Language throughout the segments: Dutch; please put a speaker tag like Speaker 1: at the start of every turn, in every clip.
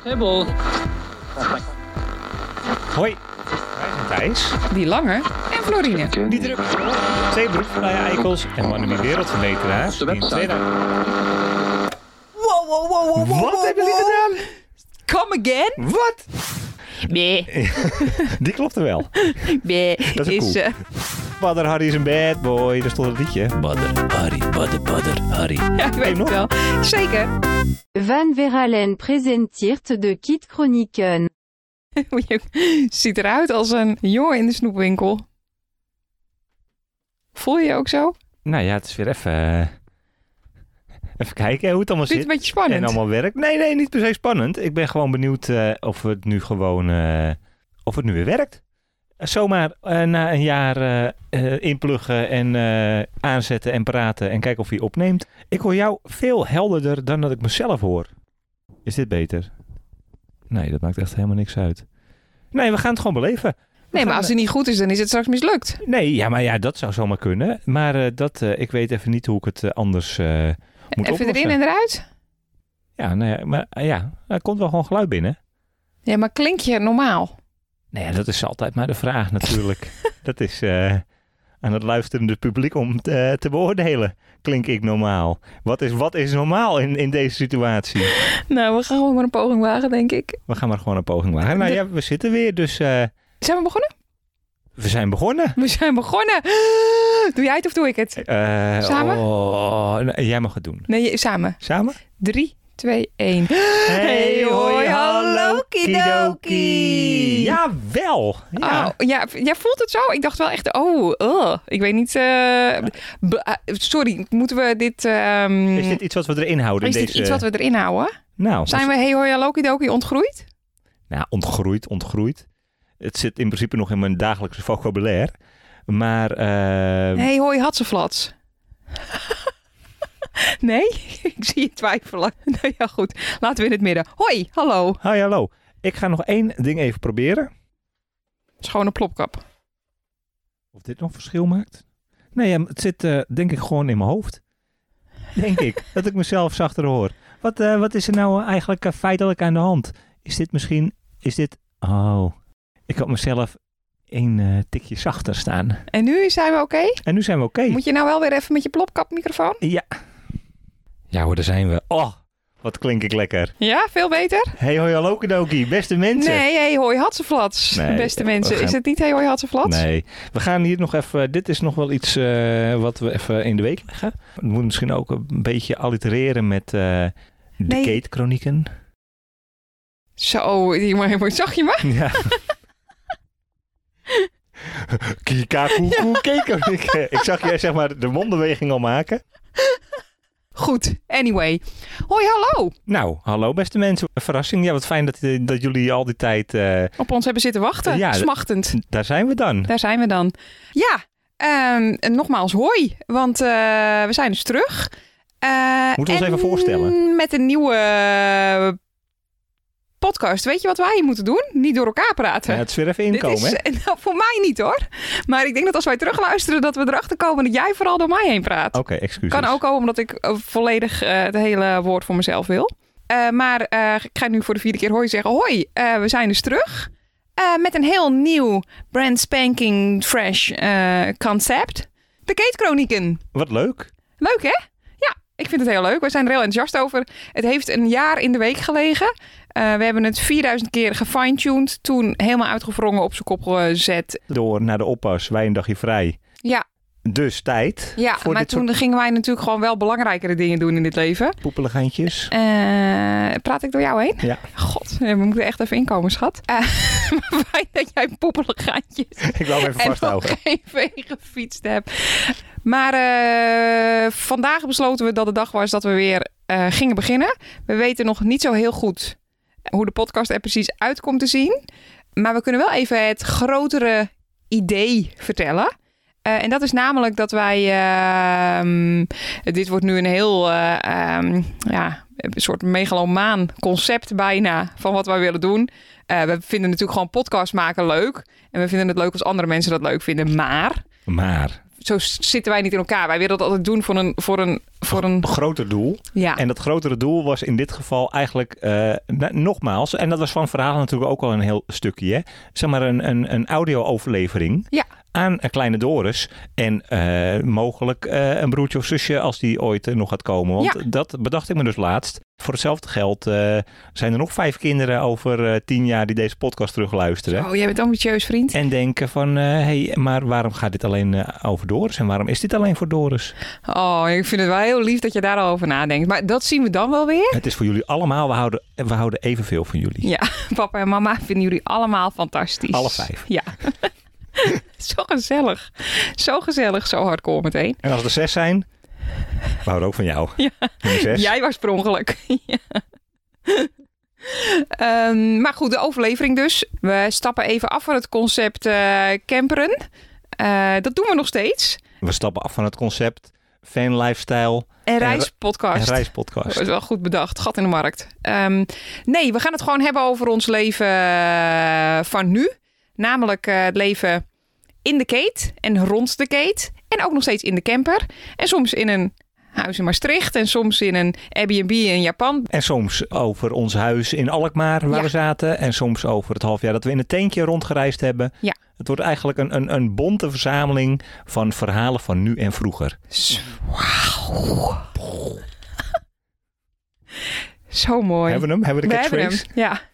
Speaker 1: Kribbel.
Speaker 2: Hoi, wij zijn Thijs.
Speaker 3: Die Lange en Florine.
Speaker 2: Die druk. Zeebroek, Flaya Eikels en Mannen Wereldverbeteraars. Die in 2000
Speaker 3: Wow, wow, wow, wow, wow,
Speaker 2: Wat
Speaker 3: wow,
Speaker 2: hebben jullie
Speaker 3: wow.
Speaker 2: gedaan?
Speaker 3: Come again?
Speaker 2: Wat?
Speaker 3: Nee,
Speaker 2: Die klopte wel.
Speaker 3: nee.
Speaker 2: Dat is cool.
Speaker 3: eh,
Speaker 2: Badder Harry is een bad boy. Daar stond het liedje.
Speaker 4: Badder, Harry, badder, badder, Harry.
Speaker 3: ja, ik weet
Speaker 2: nog?
Speaker 3: het wel. Zeker.
Speaker 5: Van Verhalen präsentiert de Kid Chroniken.
Speaker 3: Je ziet eruit als een jongen in de snoepwinkel. Voel je je ook zo?
Speaker 2: Nou ja, het is weer even... eh, Even kijken hoe het allemaal
Speaker 3: Vind je
Speaker 2: zit.
Speaker 3: het een beetje spannend?
Speaker 2: En allemaal werkt. Nee, nee, niet per se spannend. Ik ben gewoon benieuwd eh, of het nu gewoon... eh, of het nu weer werkt. Zomaar eh, na een jaar eh, eh, inpluggen en eh, aanzetten en praten en kijken of hij opneemt. Ik hoor jou veel helderder dan dat ik mezelf hoor. Is dit beter? Nee, dat maakt echt helemaal niks uit. Nee, we gaan het gewoon beleven. We
Speaker 3: Nee, maar
Speaker 2: gaan, eh,
Speaker 3: als het niet goed is, dan is het straks mislukt.
Speaker 2: Nee, ja, maar ja, dat zou zomaar kunnen. Maar eh, dat, eh, ik weet even niet hoe ik het eh, anders eh, moet
Speaker 3: Even
Speaker 2: oplossen.
Speaker 3: erin en eruit.
Speaker 2: Ja, nou ja, maar eh, ja, er komt wel gewoon geluid binnen.
Speaker 3: Ja, maar klink je normaal?
Speaker 2: Nee, ja, dat is altijd maar de vraag natuurlijk. dat is eh, aan het luisterende publiek om eh, te beoordelen. Klink ik normaal? Wat is, wat is normaal in, in deze situatie?
Speaker 3: Nou, we gaan gewoon maar een poging wagen, denk ik.
Speaker 2: We gaan maar gewoon een poging wagen. Nou
Speaker 3: De-
Speaker 2: ja, we zitten weer, dus eh,
Speaker 3: Zijn we begonnen?
Speaker 2: we zijn begonnen.
Speaker 3: We zijn begonnen. Doe jij het of doe ik het?
Speaker 2: Eh,
Speaker 3: Samen?
Speaker 2: oh, nou, jij mag het doen.
Speaker 3: Nee, je- samen.
Speaker 2: Samen?
Speaker 3: 3, 2, 1.
Speaker 2: Hey,
Speaker 3: hoi, hallo, kidoki.
Speaker 2: Jawel. Ja.
Speaker 3: Ja. Oh, ja, v- jij voelt het zo? Ik dacht wel echt, oh, ugh. ik weet niet. eh, be- ah, sorry, moeten we dit... ehm,
Speaker 2: Is dit iets wat we erin houden?
Speaker 3: is
Speaker 2: in
Speaker 3: dit
Speaker 2: deze...
Speaker 3: iets wat we erin houden?
Speaker 2: Nou,
Speaker 3: Zijn we Hey Hoi Alokidoki ontgroeid?
Speaker 2: nou, ontgroeid, ontgroeid. Het zit in principe nog in mijn dagelijkse vocabulaire. Maar eh,
Speaker 3: Hey Hoi Hatseflats. nee? ik zie je twijfelen. nou ja, goed. Laten we in het midden. Hoi, hallo.
Speaker 2: hi, hallo. Ik ga nog één ding even proberen.
Speaker 3: Schone plopkap.
Speaker 2: Of dit nog verschil maakt. Nee, ja, het zit eh, denk ik gewoon in mijn hoofd. Denk ik. Dat ik mezelf zachter hoor. Wat, eh, wat is er nou eigenlijk eh, feitelijk aan de hand? Is dit misschien... Is dit... Oh. Ik had mezelf één eh, tikje zachter staan.
Speaker 3: En nu zijn we oké?
Speaker 2: En nu zijn we oké.
Speaker 3: Moet je nou wel weer even met je plopkapmicrofoon?
Speaker 2: Ja hoor, daar zijn we. Oh, wat klink ik lekker.
Speaker 3: Ja, veel beter?
Speaker 2: Hey hoi hallo Kadoki, beste mensen.
Speaker 3: Nee, Hey Hoi Hatseflats.
Speaker 2: Nee,
Speaker 3: Beste
Speaker 2: we
Speaker 3: mensen,
Speaker 2: gaan-
Speaker 3: is het niet Hey Hoi Hatseflats?
Speaker 2: Nee, we gaan hier nog even. Dit is nog wel iets eh, wat we even in de week leggen. We moeten misschien ook een beetje allitereren met eh, de
Speaker 3: Nee.
Speaker 2: Kate-chronieken.
Speaker 3: Zo, die- maar- maar- zag je me?
Speaker 2: Ja. Kika koekoe Kate-chronieken. Ik zag jij zeg maar de mondbeweging al maken.
Speaker 3: Goed, anyway. Hoi, hallo.
Speaker 2: Nou, hallo beste mensen. Verrassing. Ja, wat fijn dat, eh, dat jullie al die tijd. eh,
Speaker 3: Op ons hebben zitten wachten,
Speaker 2: Ja, d-
Speaker 3: smachtend.
Speaker 2: daar zijn we dan.
Speaker 3: Daar zijn we dan. Ja, ehm, en nogmaals hoi, want eh, we zijn dus terug. Eh,
Speaker 2: Moeten we ons
Speaker 3: en
Speaker 2: even voorstellen?
Speaker 3: Met een nieuwe eh, podcast. Weet je wat wij hier moeten doen? Niet door elkaar praten.
Speaker 2: Ja, het is weer even
Speaker 3: Dit
Speaker 2: inkomen.
Speaker 3: is,
Speaker 2: hè?
Speaker 3: nou, voor mij niet hoor. Maar ik denk dat als wij terugluisteren, dat we erachter komen dat jij vooral door mij heen praat.
Speaker 2: Oké, excuses.
Speaker 3: Kan ook al omdat ik eh, volledig eh, het hele woord voor mezelf wil. Eh, maar eh, ik ga nu voor de vierde keer hoi zeggen. Hoi, eh, we zijn dus terug. Eh, met een heel nieuw brand spanking fresh eh, concept. De Kate Chronieken.
Speaker 2: Wat leuk.
Speaker 3: Leuk hè? Ja, ik vind het heel leuk. We zijn er heel enthousiast over. Het heeft een jaar in de week gelegen. Eh, we hebben het 4000 keer gefine-tuned. Toen helemaal uitgevrongen op zijn kop gezet.
Speaker 2: Door naar de oppas, wij een dagje vrij.
Speaker 3: Ja,
Speaker 2: Dus tijd
Speaker 3: ja
Speaker 2: voor
Speaker 3: maar
Speaker 2: dit
Speaker 3: toen gingen wij natuurlijk gewoon wel belangrijkere dingen doen in dit leven.
Speaker 2: soort poepeligantjes.
Speaker 3: Eh, praat ik door jou heen?
Speaker 2: Ja.
Speaker 3: God, we moeten echt even inkomen, schat. Eh, maar fijn dat jij poepelegaantjes
Speaker 2: Ik wou hem even
Speaker 3: en nog
Speaker 2: vasthouden.
Speaker 3: geen vee gefietst hebt. Maar eh, vandaag besloten we dat de dag was dat we weer eh, gingen beginnen. We weten nog niet zo heel goed hoe de podcast er precies uit komt te zien. Maar we kunnen wel even het grotere idee vertellen. Eh, en dat is namelijk dat wij. ehm, dit wordt nu een heel. eh, ehm, ja, een soort megalomaan concept bijna. van wat wij willen doen. Eh, we vinden natuurlijk gewoon podcast maken leuk. En we vinden het leuk als andere mensen dat leuk vinden. Maar
Speaker 2: Maar
Speaker 3: zo s- zitten wij niet in elkaar. Wij willen dat altijd doen voor een, voor een, voor een
Speaker 2: groter doel.
Speaker 3: ja.
Speaker 2: En dat grotere doel was in dit geval eigenlijk, eh, na- nogmaals, en dat was van verhaal natuurlijk ook al een heel stukje, hè? zeg maar een, een, een audio-overlevering
Speaker 3: Ja.
Speaker 2: aan een kleine Doris. En eh, mogelijk eh, een broertje of zusje als die ooit eh, nog gaat komen. Want dat bedacht ik me dus laatst. Voor hetzelfde geld eh, zijn er nog vijf kinderen over eh, tien jaar die deze podcast terugluisteren.
Speaker 3: Oh, jij bent ambitieus vriend.
Speaker 2: En denken van, hé, hey, maar waarom gaat dit alleen eh, over Doris? En waarom is dit alleen voor Doris?
Speaker 3: Oh, ik vind het wel heel lief dat je daar al over nadenkt. Maar dat zien we dan wel weer.
Speaker 2: Het is voor jullie allemaal, we houden, we houden evenveel van jullie.
Speaker 3: Ja, papa en mama vinden jullie allemaal fantastisch.
Speaker 2: Alle vijf.
Speaker 3: Ja. zo gezellig. Zo gezellig, zo hardcore meteen.
Speaker 2: En als er zes zijn, we houden ook van jou.
Speaker 3: Ja.
Speaker 2: Nummer zes.
Speaker 3: Jij was per ongeluk. Ja. Ehm, maar goed, de overlevering dus. We stappen even af van het concept eh, camperen. Eh, dat doen we nog steeds.
Speaker 2: We stappen af van het concept fan lifestyle
Speaker 3: En
Speaker 2: re- en
Speaker 3: reispodcast. Dat
Speaker 2: reispodcast.
Speaker 3: is wel goed bedacht. Gat in de markt. Ehm, nee, we gaan het gewoon hebben over ons leven eh, van nu. Namelijk eh, het leven in de keet en rond de keet. En ook nog steeds in de camper. En soms in een huis in Maastricht. En soms in een Airbnb in Japan.
Speaker 2: En soms over ons huis in Alkmaar waar
Speaker 3: Ja.
Speaker 2: we zaten. En soms over het half jaar dat we in een tentje rondgereisd hebben.
Speaker 3: Ja.
Speaker 2: Het wordt eigenlijk een, een, een bonte verzameling van verhalen van nu en vroeger.
Speaker 3: Zo mooi.
Speaker 2: Hebben we hem? Hebben we de catchphrase?
Speaker 3: ja.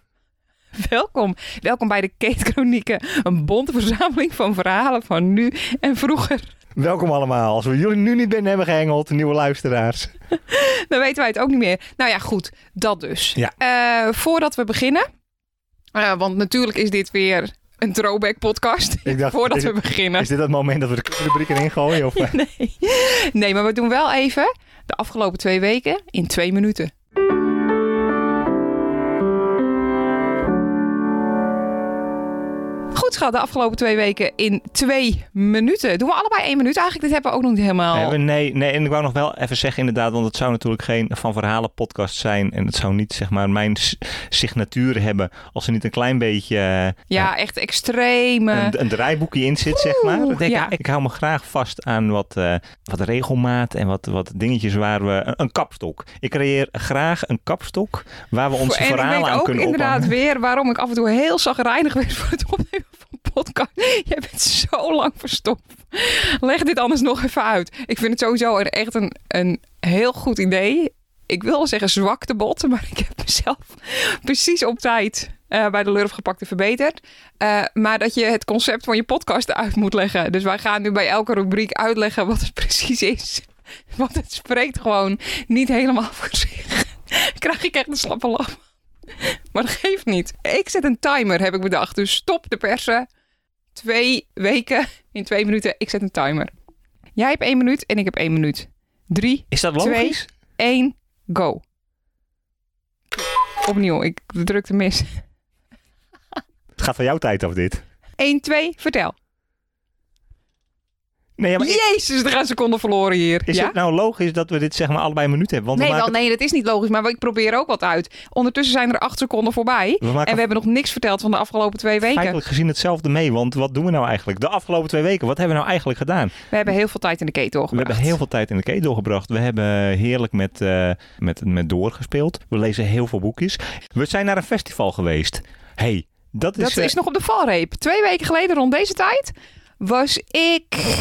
Speaker 3: Welkom. Welkom bij de Kate Chronieken. Een bonte verzameling van verhalen van nu en vroeger.
Speaker 2: Welkom allemaal. Als we jullie nu niet binnen hebben gehengeld, nieuwe luisteraars.
Speaker 3: Dan weten wij het ook niet meer. Nou ja, goed. Dat dus.
Speaker 2: Ja.
Speaker 3: Eh, voordat we beginnen. eh, want natuurlijk is dit weer een throwback podcast.
Speaker 2: Ik dacht,
Speaker 3: voordat
Speaker 2: is-
Speaker 3: we beginnen.
Speaker 2: Is dit het moment dat we de rubriek erin gooien? Of, eh?
Speaker 3: Nee. nee, maar we doen wel even de afgelopen twee weken in twee minuten. Goed, schat, de afgelopen twee weken in twee minuten. Doen we allebei één minuut eigenlijk? Dit hebben we ook nog niet helemaal.
Speaker 2: Nee, we- nee, nee, en ik wou nog wel even zeggen inderdaad, want het zou natuurlijk geen van verhalen podcast zijn en het zou niet zeg maar mijn s- signatuur hebben als er niet een klein beetje eh,
Speaker 3: Ja, echt extreme.
Speaker 2: een, een draaiboekje in zit, zeg maar.
Speaker 3: Oeh,
Speaker 2: Ik Denk,
Speaker 3: ja.
Speaker 2: ik, hou me graag vast aan wat, eh, wat regelmaat en wat, wat dingetjes waar we... Een, een kapstok. Ik creëer graag een kapstok waar we onze
Speaker 3: en ik
Speaker 2: verhalen
Speaker 3: weet
Speaker 2: aan
Speaker 3: ook
Speaker 2: kunnen
Speaker 3: inderdaad
Speaker 2: ophangen.
Speaker 3: weer waarom ik af en toe heel zagrijnig werd voor het opnemen van podcast. Jij bent zo lang verstopt. Leg dit anders nog even uit. Ik vind het sowieso een- echt een, een heel goed idee. Ik wil wel zeggen zwaktebot, maar ik heb mezelf precies op tijd eh, bij de lurf gepakt en verbeterd. Eh, maar dat je het concept van je podcast uit moet leggen. Dus wij gaan nu bij elke rubriek uitleggen wat het precies is. Want het spreekt gewoon niet helemaal voor zich. Krijg ik echt een slappe lach. Maar dat geeft niet. Ik zet een timer, heb ik bedacht. Dus stop de persen. Twee weken in twee minuten. Ik zet een timer. Jij hebt één minuut en ik heb één minuut. Drie,
Speaker 2: Is dat
Speaker 3: Twee.
Speaker 2: logisch?
Speaker 3: één, go. Opnieuw, ik drukte mis.
Speaker 2: Het gaat van jouw tijd af dit.
Speaker 3: Eén, twee, vertel.
Speaker 2: Nee, ja, maar is-
Speaker 3: Jezus, er gaan seconden verloren hier.
Speaker 2: is
Speaker 3: ja?
Speaker 2: het nou logisch dat we dit zeg maar allebei een minuut hebben? Want
Speaker 3: Nee,
Speaker 2: we
Speaker 3: wel,
Speaker 2: maken,
Speaker 3: nee, dat is niet logisch. Maar ik probeer ook wat uit. Ondertussen zijn er acht seconden voorbij.
Speaker 2: we maken
Speaker 3: En we hebben nog niks verteld van de afgelopen twee weken.
Speaker 2: feitelijk gezien hetzelfde mee. Want wat doen we nou eigenlijk? De afgelopen twee weken, wat hebben we nou eigenlijk gedaan?
Speaker 3: We hebben heel veel tijd in de ketel
Speaker 2: We
Speaker 3: gebracht.
Speaker 2: hebben heel veel tijd in de ketel gebracht. We hebben heerlijk met, eh, met, met doorgespeeld. We lezen heel veel boekjes. We zijn naar een festival geweest. hey, dat is...
Speaker 3: Dat
Speaker 2: eh,
Speaker 3: is nog op de valreep. Twee weken geleden rond deze tijd was ik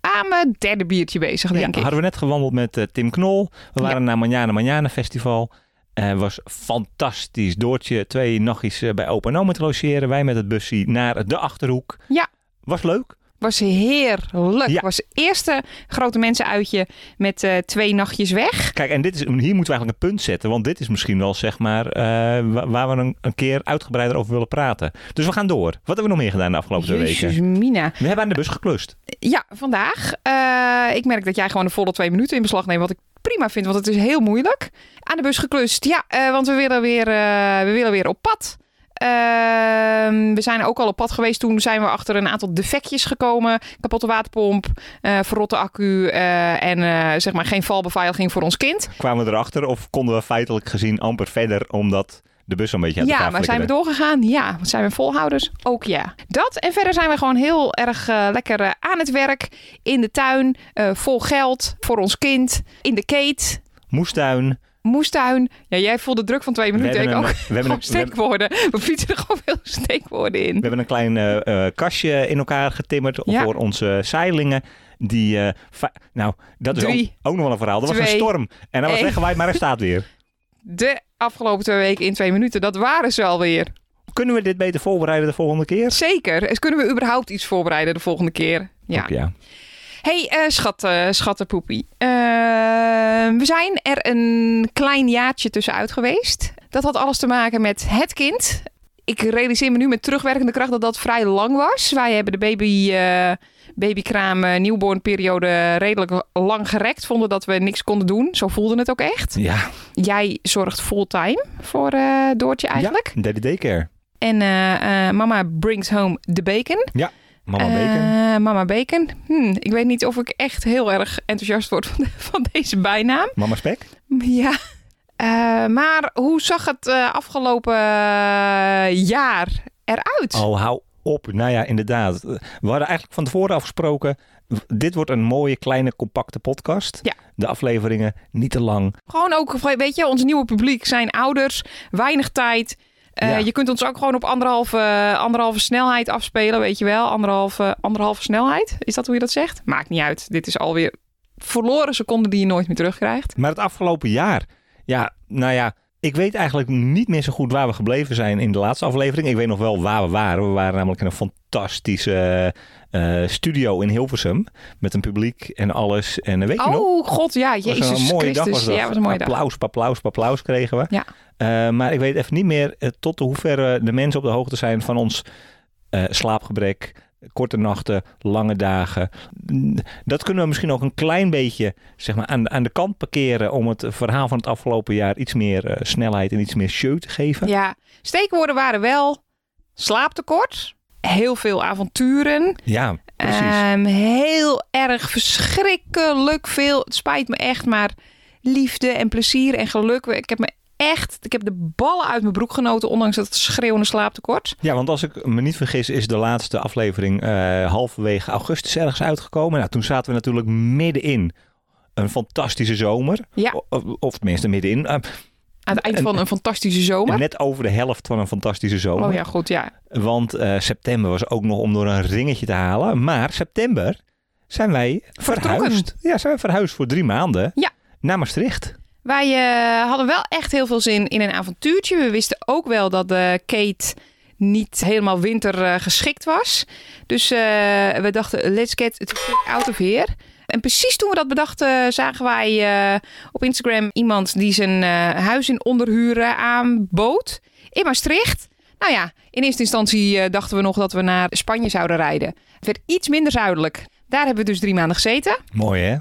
Speaker 3: aan mijn derde biertje bezig,
Speaker 2: ja,
Speaker 3: denk ik.
Speaker 2: hadden we net gewandeld met eh, Tim Knol. We
Speaker 3: Ja.
Speaker 2: waren naar Manjana Manjana Festival. Eh was fantastisch. Doortje twee nachtjes eh, bij opa en oma te logeren. Wij met het busje naar de Achterhoek.
Speaker 3: Ja.
Speaker 2: Was leuk.
Speaker 3: Was heerlijk.
Speaker 2: Ja.
Speaker 3: Was het eerste grote mensenuitje met eh, twee nachtjes weg.
Speaker 2: Kijk, en dit is, hier moeten we eigenlijk een punt zetten. Want dit is misschien wel, zeg maar, eh, wa- waar we een, een keer uitgebreider over willen praten. Dus we gaan door. Wat hebben we nog meer gedaan de afgelopen twee weken?
Speaker 3: Jezus, Mina.
Speaker 2: We hebben aan de bus geklust.
Speaker 3: Ja, vandaag. eh, ik merk dat jij gewoon de volle twee minuten in beslag neemt. Wat ik prima vind, want het is heel moeilijk. Aan de bus geklust. Ja, eh, want we willen weer, eh, we willen weer op pad. Ehm, we zijn ook al op pad geweest. Toen zijn we achter een aantal defectjes gekomen. Kapotte waterpomp, eh, verrotte accu eh, en eh, zeg maar geen valbeveiliging voor ons kind.
Speaker 2: Kwamen we erachter of konden we feitelijk gezien amper verder omdat de bus een beetje uit
Speaker 3: Ja,
Speaker 2: elkaar
Speaker 3: maar zijn we
Speaker 2: flikkeren.
Speaker 3: doorgegaan? Ja. Want zijn we volhouders? Ook ja. Dat. En verder zijn we gewoon heel erg eh, lekker eh, aan het werk. In de tuin. eh, vol geld. Voor ons kind. In de keet.
Speaker 2: Moestuin.
Speaker 3: Moestuin. Ja, jij voelde druk van twee minuten. Ik
Speaker 2: hebben
Speaker 3: ook.
Speaker 2: een- eh, we hebben
Speaker 3: Gewoon
Speaker 2: een- we hebben-
Speaker 3: steekwoorden. We fietsen er gewoon veel steekwoorden in.
Speaker 2: We hebben een klein eh, eh, kastje in elkaar getimmerd
Speaker 3: Ja.
Speaker 2: voor onze zeilingen. Die, eh, va- nou, dat is ook,
Speaker 3: Drie.
Speaker 2: ook nog wel een verhaal. Er was
Speaker 3: Twee.
Speaker 2: een storm en hij was
Speaker 3: Eén.
Speaker 2: weggewaaid, maar hij staat weer.
Speaker 3: De afgelopen twee weken in twee minuten. Dat waren ze alweer.
Speaker 2: Kunnen we dit beter voorbereiden de volgende keer?
Speaker 3: Zeker. Dus kunnen we überhaupt iets voorbereiden de volgende keer? Ja.
Speaker 2: Ook ja.
Speaker 3: Hey, eh schat, eh, schattenpoepie. Eh, we zijn er een klein jaartje tussenuit geweest. Dat had alles te maken met het kind. Ik realiseer me nu met terugwerkende kracht dat dat vrij lang was. Wij hebben de baby, eh babykraam eh, newbornperiode redelijk lang gerekt. Vonden dat we niks konden doen. Zo voelde het ook echt.
Speaker 2: Ja,
Speaker 3: Jij zorgt fulltime voor eh, Doortje eigenlijk.
Speaker 2: ja. Daddy Daycare.
Speaker 3: En eh, eh, mama brings home the bacon.
Speaker 2: Mama Bacon.
Speaker 3: Eh, Mama Bacon. Hm, ik weet niet of ik echt heel erg enthousiast word van, van deze bijnaam.
Speaker 2: Mama Spek.
Speaker 3: Ja. Eh, maar hoe zag het eh, afgelopen eh, jaar eruit?
Speaker 2: Oh, hou op. Nou ja, inderdaad. We hadden eigenlijk van tevoren afgesproken... w- dit wordt een mooie, kleine, compacte podcast.
Speaker 3: Ja.
Speaker 2: De afleveringen niet te lang.
Speaker 3: Gewoon ook, weet je, ons nieuwe publiek zijn ouders, weinig tijd. Eh,
Speaker 2: Ja.
Speaker 3: Je kunt ons ook gewoon op anderhalve, anderhalve snelheid afspelen, weet je wel. Anderhalve, anderhalve snelheid, is dat hoe je dat zegt? Maakt niet uit. Dit is alweer verloren seconden die je nooit meer terugkrijgt.
Speaker 2: Maar het afgelopen jaar, ja, nou ja, ik weet eigenlijk niet meer zo goed waar we gebleven zijn in de laatste aflevering. Ik weet nog wel waar we waren. We waren namelijk in een fantastische eh, eh, studio in Hilversum met een publiek en alles. En eh, weet je nog?
Speaker 3: Oh god, ja,
Speaker 2: Het was
Speaker 3: Jezus
Speaker 2: een mooie
Speaker 3: Christus.
Speaker 2: dag was dat.
Speaker 3: Ja, het was een mooie dag.
Speaker 2: applaus, applaus, applaus kregen we.
Speaker 3: Ja.
Speaker 2: Eh, maar ik weet even niet meer eh, tot hoeverre de mensen op de hoogte zijn van ons eh, slaapgebrek, korte nachten, lange dagen. Mm, Dat kunnen we misschien ook een klein beetje zeg maar, aan, aan de kant parkeren om het verhaal van het afgelopen jaar iets meer eh, snelheid en iets meer show te geven.
Speaker 3: Ja, steekwoorden waren wel slaaptekort, heel veel avonturen,
Speaker 2: Ja, precies.
Speaker 3: ehm, heel erg verschrikkelijk veel. Het spijt me echt, maar liefde en plezier en geluk. Ik heb me echt, ik heb de ballen uit mijn broek genoten, ondanks dat schreeuwende slaaptekort.
Speaker 2: Ja, want als ik me niet vergis, is de laatste aflevering eh, halverwege augustus ergens uitgekomen. Nou, toen zaten we natuurlijk middenin een fantastische zomer.
Speaker 3: Ja.
Speaker 2: O- Of, of tenminste middenin. Eh,
Speaker 3: Aan het eind van een fantastische zomer.
Speaker 2: net over de helft van een fantastische zomer.
Speaker 3: Oh ja, goed, ja.
Speaker 2: Want eh, september was ook nog om door een ringetje te halen. Maar september zijn wij verhuisd. Ja, zijn we verhuisd voor drie maanden
Speaker 3: Ja.
Speaker 2: naar Maastricht.
Speaker 3: Wij eh, hadden wel echt heel veel zin in een avontuurtje. We wisten ook wel dat eh, Kate niet helemaal winter eh, geschikt was. Dus eh, we dachten, let's get the fuck out of here. En precies toen we dat bedachten, zagen wij eh, op Instagram iemand die zijn eh, huis in onderhuren aanbood. In Maastricht. Nou ja, in eerste instantie eh, dachten we nog dat we naar Spanje zouden rijden. Het werd iets minder zuidelijk. Daar hebben we dus drie maanden gezeten
Speaker 2: Mooi hè?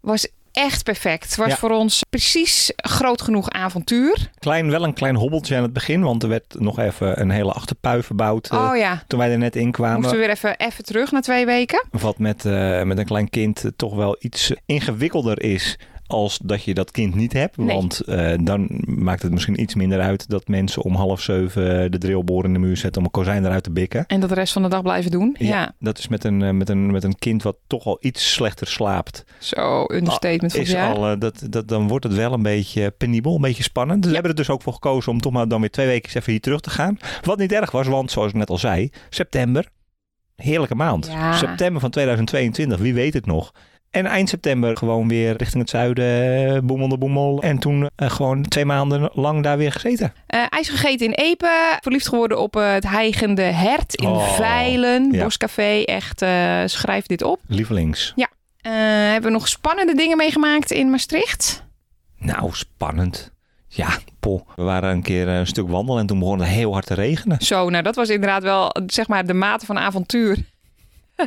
Speaker 3: was echt perfect. Was
Speaker 2: Ja.
Speaker 3: voor ons precies groot genoeg avontuur.
Speaker 2: Klein, wel een klein hobbeltje aan het begin, want er werd nog even een hele achterpui verbouwd. eh,
Speaker 3: oh ja,
Speaker 2: Toen wij er net in kwamen.
Speaker 3: moesten we weer even, even terug na twee weken.
Speaker 2: wat met, eh, met een klein kind eh, toch wel iets eh, ingewikkelder is als dat je dat kind niet hebt.
Speaker 3: Nee.
Speaker 2: Want eh, dan maakt het misschien iets minder uit dat mensen om half zeven eh, de drillboor in de muur zetten om een kozijn eruit te bikken.
Speaker 3: En dat de rest van de dag blijven doen. Ja,
Speaker 2: Dat is met een, eh, met, een, met een kind wat toch al iets slechter slaapt.
Speaker 3: zo understatement van het
Speaker 2: Is
Speaker 3: jaar.
Speaker 2: al, eh, dat, dat, dan wordt het wel een beetje penibel, een beetje spannend. Dus we hebben er dus ook voor gekozen om toch maar dan weer twee weken even hier terug te gaan. Wat niet erg was, want zoals ik net al zei, september, heerlijke maand.
Speaker 3: Ja.
Speaker 2: September van 2022, wie weet het nog. En eind september gewoon weer richting het zuiden, eh, boemel de boemel. En toen eh, gewoon twee maanden lang daar weer gezeten.
Speaker 3: Eh, ijs gegeten in Epe. Verliefd geworden op eh, het heigende hert in
Speaker 2: Oh,
Speaker 3: Veilen.
Speaker 2: ja.
Speaker 3: Boscafé. Echt, eh, schrijf dit op.
Speaker 2: Lievelings.
Speaker 3: Eh, hebben we nog spannende dingen meegemaakt in Maastricht?
Speaker 2: Nou, spannend. Ja, poh. We waren een keer eh, een stuk wandelen en toen begon het heel hard te regenen.
Speaker 3: Zo, nou dat was inderdaad wel eh, zeg maar de mate van avontuur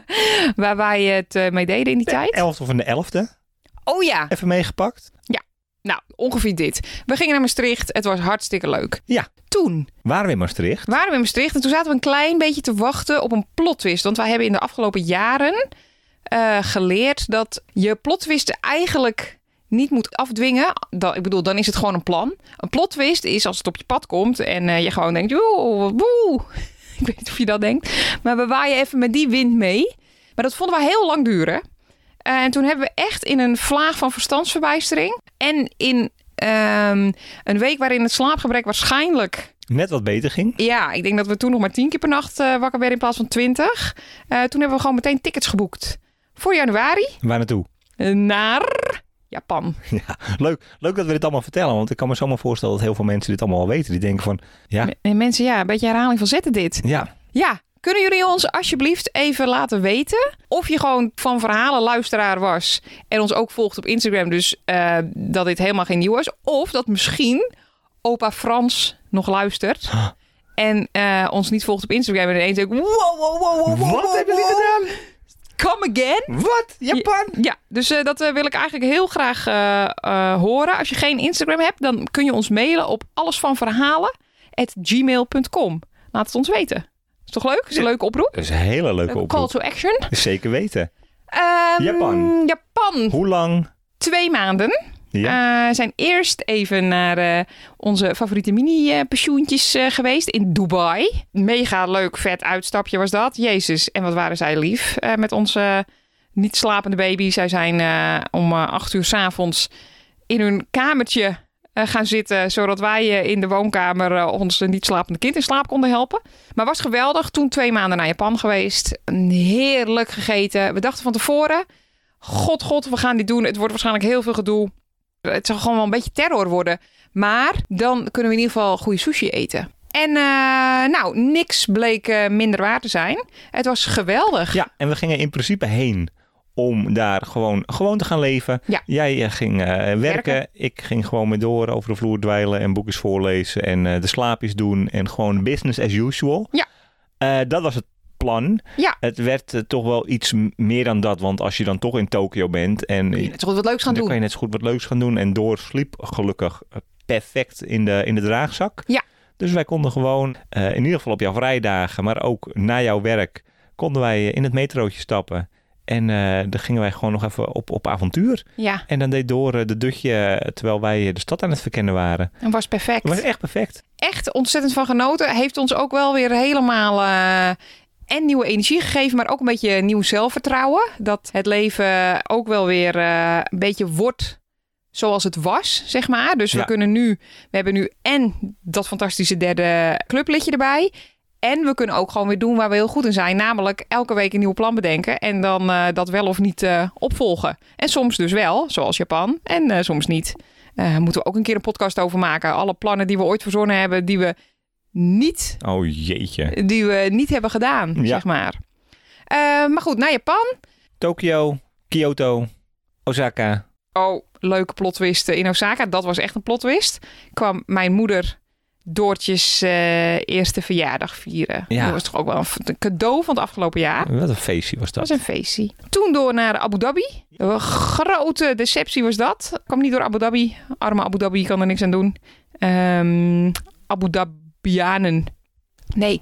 Speaker 3: waar wij het eh, mee deden in die tijd.
Speaker 2: De 11e van de 11e.
Speaker 3: Oh ja,
Speaker 2: Even meegepakt.
Speaker 3: Nou, ongeveer dit. We gingen naar Maastricht. Het was hartstikke leuk.
Speaker 2: Ja.
Speaker 3: Toen
Speaker 2: Waren we in Maastricht.
Speaker 3: waren we in Maastricht en toen zaten we een klein beetje te wachten op een plotwist. Want wij hebben in de afgelopen jaren eh, geleerd dat je plotwisten eigenlijk niet moet afdwingen. Dan, ik bedoel, dan is het gewoon een plan. Een plot twist is als het op je pad komt en eh, je gewoon denkt, "Joe, woe. Ik weet niet of je dat denkt. Maar we waaien even met die wind mee. Maar dat vonden we heel lang duren. Eh, en toen hebben we echt in een vlaag van verstandsverwijstering en in ehm, een week waarin het slaapgebrek waarschijnlijk
Speaker 2: Net wat beter ging.
Speaker 3: ja, ik denk dat we toen nog maar tien keer per nacht eh, wakker werden in plaats van twintig. Eh, toen hebben we gewoon meteen tickets geboekt. Voor januari
Speaker 2: Waar naartoe?
Speaker 3: naar Japan.
Speaker 2: Leuk, leuk dat we dit allemaal vertellen. Want ik kan me zomaar voorstellen dat heel veel mensen dit allemaal al weten. Die denken van, ja,
Speaker 3: En mensen, ja, een beetje herhaling van zetten dit.
Speaker 2: ja,
Speaker 3: Ja, kunnen jullie ons alsjeblieft even laten weten of je gewoon van verhalen luisteraar was en ons ook volgt op Instagram, dus eh, dat dit helemaal geen nieuw is, of dat misschien opa Frans nog luistert en eh, ons niet volgt op Instagram en ineens denkt, wow, wow, wow, wow, wow,
Speaker 2: wat
Speaker 3: wow,
Speaker 2: hebben jullie
Speaker 3: wow,
Speaker 2: gedaan?
Speaker 3: Come again.
Speaker 2: Wat? Japan?
Speaker 3: Ja, dus eh, dat eh, wil ik eigenlijk heel graag eh, eh, horen. Als je geen Instagram hebt, dan kun je ons mailen op allesvanverhalen.gmail.com. Laat het ons weten. Is toch leuk? Is een leuke oproep?
Speaker 2: Dat is een hele leuke
Speaker 3: Leuke call
Speaker 2: oproep.
Speaker 3: to action.
Speaker 2: Dus Zeker weten.
Speaker 3: Ehm,
Speaker 2: Japan.
Speaker 3: Japan.
Speaker 2: Hoe lang?
Speaker 3: Twee maanden.
Speaker 2: Ja.
Speaker 3: Eh, zijn eerst even naar eh, onze favoriete mini-pensioentjes eh, geweest in Dubai. Mega leuk, vet uitstapje was dat. Jezus, en wat waren zij lief eh, met onze niet slapende baby. Zij zijn eh, om eh, acht uur s'avonds in hun kamertje eh, gaan zitten. Zodat wij eh, in de woonkamer eh, ons niet slapende kind in slaap konden helpen. Maar was geweldig. Toen twee maanden naar Japan geweest. Een Heerlijk gegeten. We dachten van tevoren... God, god, we gaan dit doen. Het wordt waarschijnlijk heel veel gedoe. Het zal gewoon wel een beetje terror worden. Maar dan kunnen we in ieder geval goede sushi eten. En eh, nou, niks bleek eh, minder waar te zijn. Het was geweldig.
Speaker 2: ja, en we gingen in principe heen om daar gewoon, gewoon te gaan leven.
Speaker 3: Ja.
Speaker 2: Jij eh, ging eh, werken.
Speaker 3: Werken.
Speaker 2: Ik ging gewoon mee door over de vloer dweilen en boekjes voorlezen en eh, de slaapjes doen en gewoon business as usual.
Speaker 3: Ja.
Speaker 2: Eh, dat was het plan.
Speaker 3: Ja.
Speaker 2: Het werd eh, toch wel iets m- meer dan dat, want als je dan toch in Tokio bent en
Speaker 3: Kun je net zo goed wat leuks gaan
Speaker 2: dan
Speaker 3: doen.
Speaker 2: kan je net zo goed wat leuks gaan doen. En Door sliep gelukkig eh, perfect in de, in de draagzak.
Speaker 3: Ja.
Speaker 2: Dus wij konden gewoon, eh, in ieder geval op jouw vrijdagen, maar ook na jouw werk, konden wij eh, in het metrootje stappen. En eh dan gingen wij gewoon nog even op, op avontuur.
Speaker 3: Ja,
Speaker 2: En dan deed Door eh, de dutje eh, terwijl wij eh, de stad aan het verkennen waren.
Speaker 3: dat was perfect.
Speaker 2: Het was echt perfect.
Speaker 3: Echt ontzettend van genoten. Heeft ons ook wel weer helemaal eh, en nieuwe energie gegeven, maar ook een beetje nieuw zelfvertrouwen. Dat het leven ook wel weer eh, een beetje wordt zoals het was, zeg maar. Dus we
Speaker 2: Ja.
Speaker 3: kunnen nu, we hebben nu en dat fantastische derde clublidje erbij. En we kunnen ook gewoon weer doen waar we heel goed in zijn. Namelijk elke week een nieuw plan bedenken. En dan eh, dat wel of niet eh, opvolgen. En soms dus wel, zoals Japan. En eh, soms niet. Eh moeten we ook een keer een podcast over maken. Alle plannen die we ooit verzonnen hebben, die we niet,
Speaker 2: Oh jeetje.
Speaker 3: die we niet hebben gedaan,
Speaker 2: Ja.
Speaker 3: zeg maar. Eh, maar goed, naar Japan.
Speaker 2: Tokio, Kyoto, Osaka.
Speaker 3: Oh, leuke plot twist in Osaka. Dat was echt een plot twist. Kwam mijn moeder Doortjes eh, eerste verjaardag vieren.
Speaker 2: Ja.
Speaker 3: Dat was toch ook wel een f- een cadeau van het afgelopen jaar.
Speaker 2: Wat een feestje was
Speaker 3: Dat
Speaker 2: dat.
Speaker 3: was een feestje. Toen door naar Abu Dhabi. Een grote deceptie was dat. Kwam niet door Abu Dhabi. Arme Abu Dhabi kan er niks aan doen. Ehm, Abu Dhabianen. Nee,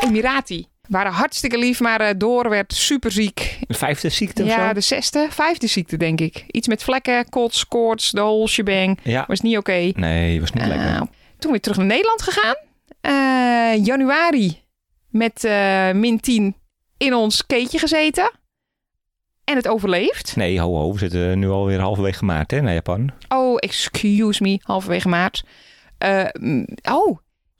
Speaker 3: Emirati. Waren hartstikke lief, maar eh, door werd super ziek.
Speaker 2: Een vijfde ziekte of
Speaker 3: Ja,
Speaker 2: zo?
Speaker 3: de zesde, vijfde ziekte denk ik. Iets met vlekken, kots, koorts, de whole shebang.
Speaker 2: Ja.
Speaker 3: Was niet oké.
Speaker 2: Nee, was niet lekker.
Speaker 3: Eh, toen weer terug naar Nederland gegaan. Eh, januari met eh, min 10 in ons keetje gezeten. En het overleefd.
Speaker 2: Nee, ho ho, we zitten nu alweer halverwege maart hè, naar Japan.
Speaker 3: Oh, excuse me, halverwege maart. Eh, mm, oh,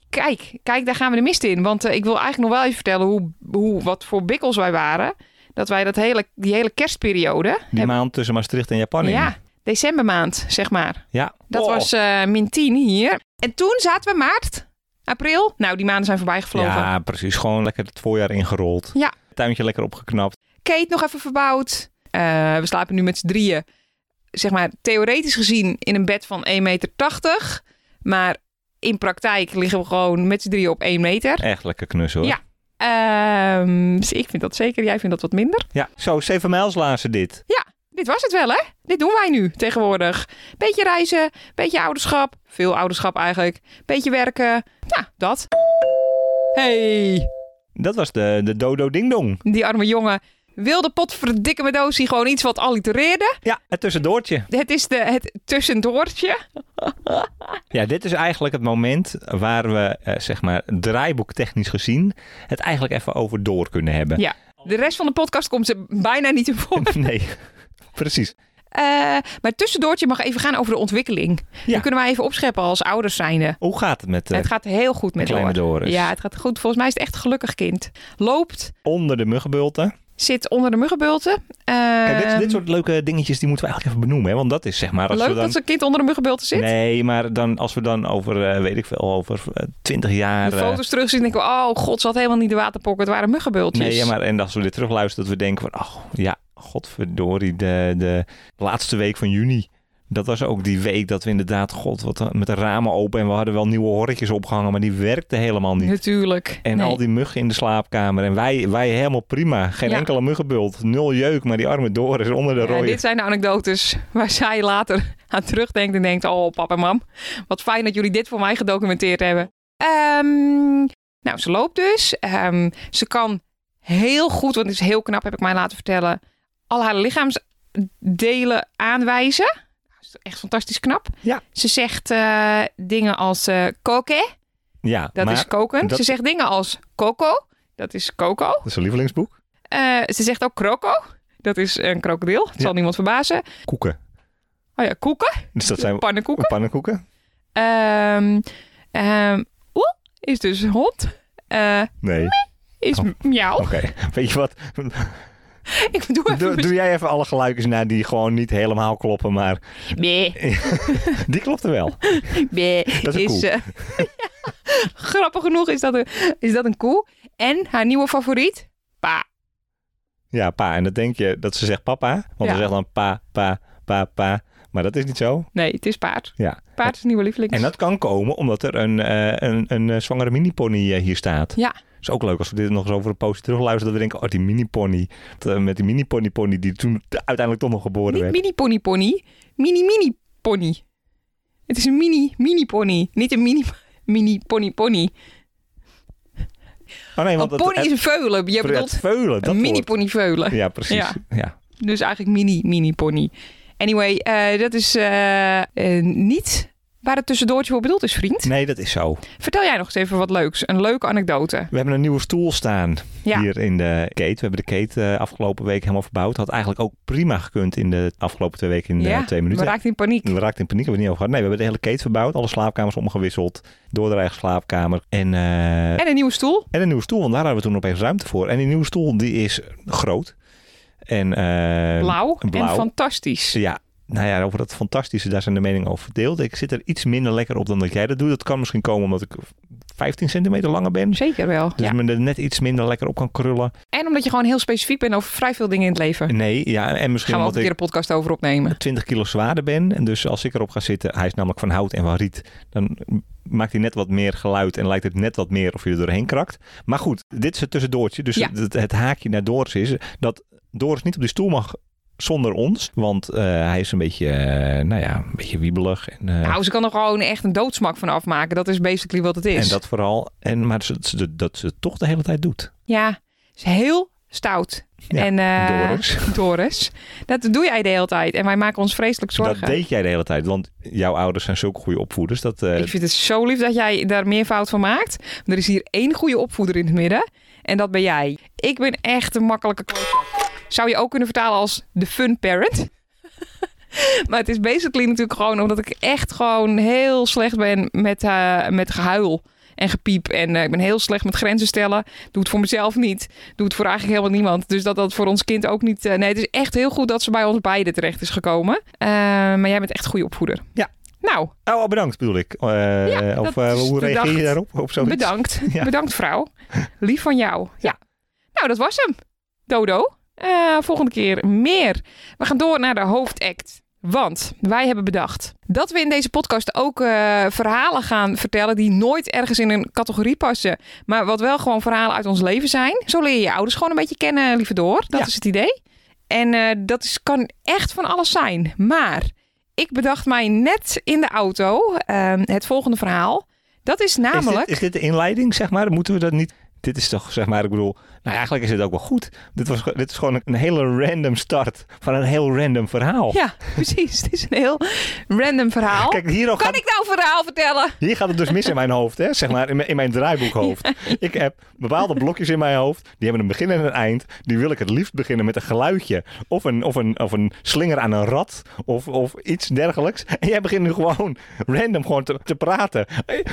Speaker 3: kijk, kijk, daar gaan we de mist in. Want eh, ik wil eigenlijk nog wel even vertellen hoe, hoe, wat voor bikkels wij waren. Dat wij dat hele, die hele kerstperiode...
Speaker 2: Die
Speaker 3: hebben-
Speaker 2: maand tussen Maastricht en Japan in.
Speaker 3: ja, decembermaand, zeg maar.
Speaker 2: ja.
Speaker 3: Dat
Speaker 2: Oh.
Speaker 3: was eh, min 10 hier. En toen zaten we maart, april. Nou, die maanden zijn voorbij gevlogen.
Speaker 2: Ja, precies. Gewoon lekker het voorjaar ingerold.
Speaker 3: Ja.
Speaker 2: Tuintje lekker opgeknapt.
Speaker 3: Kate nog even verbouwd. Eh, we slapen nu met z'n drieën. Zeg maar theoretisch gezien in een bed van 1,80 meter. Maar in praktijk liggen we gewoon met z'n drieën op 1 meter.
Speaker 2: Echt lekker knus hoor.
Speaker 3: Ja. Ehm, dus ik vind dat zeker. Jij vindt dat wat minder.
Speaker 2: Ja. Zo, zeven mijls lazen dit.
Speaker 3: Dit was het wel, hè? Dit doen wij nu tegenwoordig. Beetje reizen, beetje ouderschap. Veel ouderschap eigenlijk. Beetje werken. Nou, dat. Hey.
Speaker 2: Dat was de, de dodo ding dong.
Speaker 3: Die arme jongen. wilde potverdikke me doosie gewoon iets wat allitereerde.
Speaker 2: Ja, het tussendoortje.
Speaker 3: Het is de, het tussendoortje.
Speaker 2: Ja, dit is eigenlijk het moment waar we, eh, zeg maar, draaiboektechnisch gezien, het eigenlijk even over door kunnen hebben.
Speaker 3: Ja. De rest van de podcast komt er bijna niet in voor.
Speaker 2: Nee, precies.
Speaker 3: Eh, maar het tussendoortje mag even gaan over de ontwikkeling. Die kunnen wij even opscheppen als ouders zijnde.
Speaker 2: Hoe gaat het met eh,
Speaker 3: Het gaat heel goed met
Speaker 2: kleine
Speaker 3: Loor.
Speaker 2: Doris?
Speaker 3: Ja, het gaat goed. Volgens mij is het echt een gelukkig kind. Loopt,
Speaker 2: onder de muggenbulten?
Speaker 3: zit onder de muggenbulten. Eh,
Speaker 2: Kijk, dit, dit soort leuke dingetjes die moeten we eigenlijk even benoemen. Hè? Want dat is zeg maar... Als
Speaker 3: Leuk
Speaker 2: we dan...
Speaker 3: dat zo'n kind onder de muggenbulten zit.
Speaker 2: Nee, maar dan, als we dan over, eh, weet ik veel, over twintig jaar...
Speaker 3: de
Speaker 2: eh,
Speaker 3: foto's terugzien denk ik, oh god, ze had helemaal niet de waterpokken. Het waren muggenbultjes.
Speaker 2: nee, ja, maar en als we dit terugluisteren, dat we denken van... Oh, ja, godverdorie, de, de laatste week van juni. Dat was ook die week dat we inderdaad, god, wat, eh, met de ramen open... en we hadden wel nieuwe horretjes opgehangen, maar die werkte helemaal niet.
Speaker 3: Natuurlijk.
Speaker 2: En
Speaker 3: Nee.
Speaker 2: al die muggen in de slaapkamer. En wij, wij helemaal prima. Geen
Speaker 3: Ja.
Speaker 2: enkele muggenbult. Nul jeuk, maar die arme Doris onder de
Speaker 3: Ja,
Speaker 2: rode
Speaker 3: dit zijn de anekdotes waar zij later aan terugdenkt en denkt, oh pap en mam, wat fijn dat jullie dit voor mij gedocumenteerd hebben. Ehm, nou, ze loopt dus. Ehm, ze kan heel goed, want het is heel knap, heb ik mij laten vertellen, al haar lichaamsdelen aanwijzen. Dat is echt fantastisch knap.
Speaker 2: Ja.
Speaker 3: Ze zegt eh, dingen als eh koke,
Speaker 2: Ja,
Speaker 3: dat
Speaker 2: maar
Speaker 3: is koken.
Speaker 2: dat-
Speaker 3: Ze zegt dingen als coco, dat is coco.
Speaker 2: dat is een lievelingsboek.
Speaker 3: Eh, ze zegt ook croco, dat is een krokodil. Het
Speaker 2: Ja.
Speaker 3: zal niemand verbazen.
Speaker 2: Koeken.
Speaker 3: Oh ja, koeken.
Speaker 2: Dus dat zijn
Speaker 3: Pannenkoeken.
Speaker 2: pannenkoeken.
Speaker 3: Ehm ehm, Oeh is dus hond. Eh,
Speaker 2: Nee,
Speaker 3: is
Speaker 2: Oh.
Speaker 3: miauw.
Speaker 2: oké. Weet je wat?
Speaker 3: Ik doe even...
Speaker 2: Doe, doe jij even alle geluidjes na die gewoon niet helemaal kloppen, maar
Speaker 3: Bee,
Speaker 2: die klopte wel.
Speaker 3: bee.
Speaker 2: is een koe.
Speaker 3: eh, ja. grappig genoeg is dat, een, is dat een koe. En haar nieuwe favoriet? Pa.
Speaker 2: Ja, pa. En dan denk je dat ze zegt papa, want
Speaker 3: Ja.
Speaker 2: ze zegt dan pa, pa, pa, pa. Maar dat is niet zo.
Speaker 3: Nee, het is paard.
Speaker 2: Ja.
Speaker 3: Paard is de nieuwe lieveling.
Speaker 2: En dat kan komen omdat er een, eh, een, een eh, zwangere mini-pony eh, hier staat.
Speaker 3: Ja.
Speaker 2: is ook leuk als we dit nog eens over een poosje terugluisteren. Dat we denken, oh, die mini-pony. Dat, eh, Met die mini-pony-pony die toen uiteindelijk toch nog geboren
Speaker 3: Niet
Speaker 2: werd.
Speaker 3: mini pony pony. Mini mini pony. Het is een mini mini pony. Niet een mini mini pony pony.
Speaker 2: Oh nee,
Speaker 3: Een
Speaker 2: want het-
Speaker 3: pony is een veulen. Je
Speaker 2: het, het
Speaker 3: bedoelt
Speaker 2: veulen. Dat
Speaker 3: een mini
Speaker 2: woord.
Speaker 3: pony veulen.
Speaker 2: Ja, precies.
Speaker 3: Ja.
Speaker 2: ja.
Speaker 3: Dus eigenlijk mini, mini pony. Anyway, eh, dat is eh, eh, niet waar het tussendoortje voor bedoeld is, vriend.
Speaker 2: Nee, dat is zo.
Speaker 3: Vertel jij nog eens even wat leuks. Een leuke anekdote.
Speaker 2: We hebben een nieuwe stoel staan
Speaker 3: Ja.
Speaker 2: hier in de Kate. We hebben de Kate eh, afgelopen week helemaal verbouwd. Had eigenlijk ook prima gekund in de afgelopen twee weken in eh,
Speaker 3: ja,
Speaker 2: twee minuten.
Speaker 3: we raakten in paniek.
Speaker 2: We raakten in paniek, hebben we het niet over gehad. Nee, we hebben de hele Kate verbouwd. Alle slaapkamers omgewisseld. Door de eigen slaapkamer. En, eh,
Speaker 3: En een nieuwe stoel.
Speaker 2: en een nieuwe stoel, want daar hadden we toen opeens ruimte voor. En die nieuwe stoel, die is groot. En, eh,
Speaker 3: Blauw.
Speaker 2: blauw.
Speaker 3: En fantastisch.
Speaker 2: Ja, nou ja, over dat fantastische, daar zijn de meningen over verdeeld. Ik zit er iets minder lekker op dan dat jij dat doet. Dat kan misschien komen omdat ik 15 centimeter langer ben.
Speaker 3: Zeker wel.
Speaker 2: Dus
Speaker 3: ja.
Speaker 2: me er net iets minder lekker op kan krullen.
Speaker 3: En omdat je gewoon heel specifiek bent over vrij veel dingen in het leven.
Speaker 2: Eh, Nee, ja, en misschien
Speaker 3: Gaan we
Speaker 2: omdat
Speaker 3: ook een keer
Speaker 2: ik
Speaker 3: een podcast over opnemen.
Speaker 2: 20 kilo zwaarder ben. En dus als ik erop ga zitten, hij is namelijk van hout en van riet. Dan maakt hij net wat meer geluid en lijkt het net wat meer of je er doorheen krakt. Maar goed, dit is het tussendoortje. Dus
Speaker 3: Ja.
Speaker 2: het, het haakje naar Doris is dat Doris niet op die stoel mag zonder ons. Want eh, hij is een beetje, eh, nou ja, een beetje wiebelig. En, eh,
Speaker 3: Nou, ze kan er gewoon echt een doodsmak van afmaken. Dat is basically wat het is.
Speaker 2: En dat vooral. En, maar ze, ze- dat ze het toch de hele tijd doet.
Speaker 3: Ja, is heel stout.
Speaker 2: Ja,
Speaker 3: en, eh,
Speaker 2: Doris.
Speaker 3: Doris. Dat doe jij de hele tijd. En wij maken ons vreselijk zorgen.
Speaker 2: Dat deed jij de hele tijd. Want jouw ouders zijn zulke goede opvoeders. Dat, eh,
Speaker 3: Ik vind het zo lief dat jij daar meer fout van maakt. Want Er is hier één goede opvoeder in het midden. En dat ben jij. Ik ben echt een makkelijke klootzak. Zou je ook kunnen vertalen als de fun parent. maar het is basically natuurlijk gewoon omdat ik echt gewoon heel slecht ben met, eh, met gehuil. En gepiep. En eh, ik ben heel slecht met grenzen stellen. Doe het voor mezelf niet. Doe het voor eigenlijk helemaal niemand. Dus dat dat voor ons kind ook niet... eh, nee, het is echt heel goed dat ze bij ons beiden terecht is gekomen. Eh, maar jij bent echt een goede opvoeder.
Speaker 2: Ja.
Speaker 3: Nou,
Speaker 2: Oh, bedankt bedoel ik. Eh,
Speaker 3: Ja,
Speaker 2: of
Speaker 3: dat
Speaker 2: eh,
Speaker 3: is
Speaker 2: hoe reageer je
Speaker 3: bedacht.
Speaker 2: daarop? Of zoiets?
Speaker 3: Bedankt.
Speaker 2: Ja.
Speaker 3: Bedankt, vrouw. Lief van jou. Ja. Nou, dat was hem. Dodo. Eh, volgende keer meer. We gaan door naar de hoofdact. Want wij hebben bedacht dat we in deze podcast ook eh, verhalen gaan vertellen die nooit ergens in een categorie passen. Maar wat wel gewoon verhalen uit ons leven zijn. Zo leer je je ouders gewoon een beetje kennen, liever door. Dat
Speaker 2: Ja.
Speaker 3: is het idee. En eh, dat is, kan echt van alles zijn. Maar ik bedacht mij net in de auto eh, het volgende verhaal. Dat is
Speaker 2: Is dit-
Speaker 3: namelijk...
Speaker 2: Is dit, de inleiding, zeg maar? Moeten we dat niet... dit is toch, zeg maar, ik bedoel, nou eigenlijk is het ook wel goed. Dit, was, ge- dit is gewoon een, een hele random start van een heel random verhaal.
Speaker 3: Ja, precies. Het is een heel random verhaal.
Speaker 2: Oh. Kijk, hier, al
Speaker 3: kan
Speaker 2: gaat,
Speaker 3: ik nou een verhaal vertellen?
Speaker 2: hier gaat het dus mis in mijn hoofd, hè? zeg maar, in mijn, in mijn draaiboekhoofd. Ik heb bepaalde blokjes in mijn hoofd, die hebben een begin en een eind. Die wil ik het liefst beginnen met een geluidje of een, of een, of een slinger aan een rat of, of iets dergelijks. En jij begint nu gewoon random gewoon te, te praten.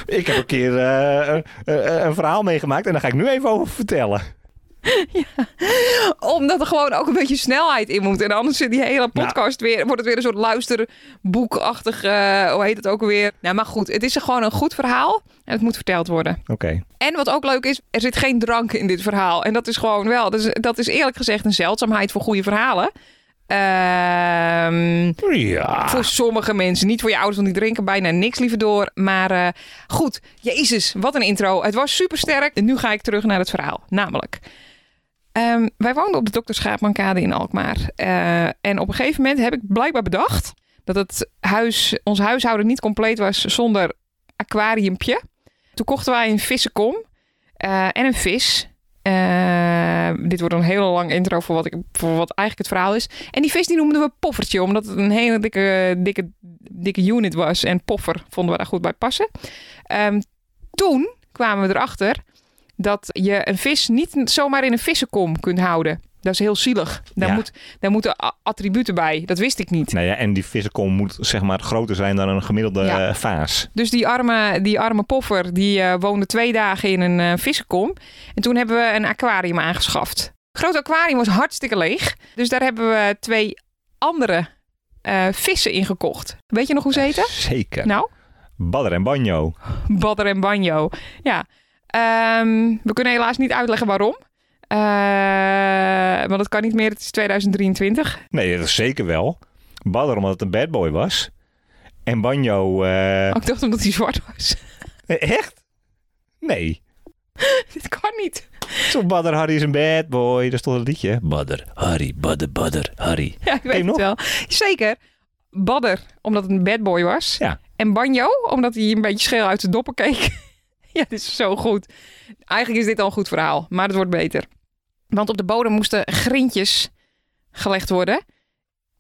Speaker 2: Ik heb een keer eh, een- een- een verhaal meegemaakt en daar ga ik nu even over vertellen.
Speaker 3: Omdat er gewoon ook een beetje snelheid in moet. En anders zit die hele podcast weer, wordt het weer een soort luisterboekachtig, eh, hoe heet het ook weer. Nou, maar goed, het is gewoon een goed verhaal en het moet verteld worden.
Speaker 2: Oké.
Speaker 3: En wat ook leuk is, er zit geen drank in dit verhaal. En dat is gewoon wel, dat is, dat is eerlijk gezegd een zeldzaamheid voor goede verhalen. Ehm,
Speaker 2: Ja.
Speaker 3: Voor sommige mensen, niet voor je ouders, want die drinken bijna niks liever door. Maar eh, goed, jezus, wat een intro. Het was supersterk. En nu ga ik terug naar het verhaal. Namelijk, ehm, wij woonden op de Dr. Schaapmankade in Alkmaar. Eh, en op een gegeven moment heb ik blijkbaar bedacht dat het huis, ons huishouden niet compleet was zonder aquariumpje. Toen kochten wij een vissenkom eh, en een vis. Eh, dit wordt een hele lange intro voor wat, ik, voor wat eigenlijk het verhaal is. En die vis die noemden we Poffertje, omdat het een hele dikke, dikke, dikke unit was. En Poffer vonden we daar goed bij passen. Ehm, toen kwamen we erachter dat je een vis niet zomaar in een vissenkom kunt houden. Dat is heel zielig. Daar,
Speaker 2: Ja.
Speaker 3: moet, daar moeten a- attributen bij. Dat wist ik niet.
Speaker 2: Nou ja, en die vissenkom moet zeg maar groter zijn dan een gemiddelde
Speaker 3: Ja.
Speaker 2: eh, vaas.
Speaker 3: Dus die arme, die arme poffer die eh, woonde twee dagen in een eh, vissenkom. En toen hebben we een aquarium aangeschaft. Het grote aquarium was hartstikke leeg. Dus daar hebben we twee andere eh, vissen in gekocht. Weet je nog hoe ze heten?
Speaker 2: Zeker.
Speaker 3: Nou,
Speaker 2: Badder en banjo.
Speaker 3: badder en banjo. Ja. Ehm, we kunnen helaas niet uitleggen waarom. Eh, want dat kan niet meer. Het is 2023.
Speaker 2: Nee, dat is zeker wel. Badder omdat het een bad boy was. En banjo... eh,
Speaker 3: Oh, ik dacht omdat hij zwart was.
Speaker 2: Echt? Nee.
Speaker 3: Dit kan niet.
Speaker 2: Zo Badder Harry is een bad boy. Dat is toch een liedje?
Speaker 4: Badder, Harry, badder, badder, Harry.
Speaker 3: Ja, ik weet
Speaker 2: je
Speaker 3: het
Speaker 2: nog?
Speaker 3: wel. Zeker. Badder, omdat het een bad boy was.
Speaker 2: Ja.
Speaker 3: En Banjo, omdat hij een beetje scheel uit de doppen keek. ja, dit is zo goed. Eigenlijk is dit al een goed verhaal, maar het wordt beter. Want op de bodem moesten grintjes gelegd worden.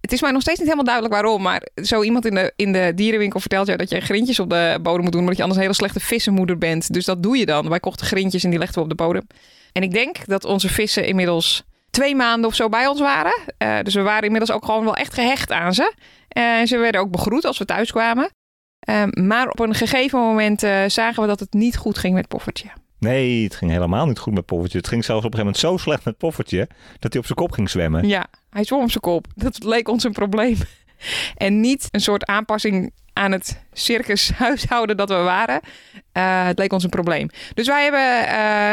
Speaker 3: Het is mij nog steeds niet helemaal duidelijk waarom, maar zo iemand in de, in de dierenwinkel vertelt jou dat je grintjes op de bodem moet doen, omdat je anders een hele slechte vissenmoeder bent. Dus dat doe je dan. Wij kochten grintjes en die legden we op de bodem. En ik denk dat onze vissen inmiddels twee maanden of zo bij ons waren. Eh, dus we waren inmiddels ook gewoon wel echt gehecht aan ze. Eh, En ze werden ook begroet als we thuis kwamen. Eh, maar op een gegeven moment eh, zagen we dat het niet goed ging met Poffertje.
Speaker 2: Nee, het ging helemaal niet goed met Poffertje. Het ging zelfs op een gegeven moment zo slecht met Poffertje... dat hij op zijn kop ging zwemmen.
Speaker 3: Ja, hij zwom op zijn kop. Dat leek ons een probleem. En niet een soort aanpassing aan het circushuishouden dat we waren. Eh, het leek ons een probleem. Dus wij hebben,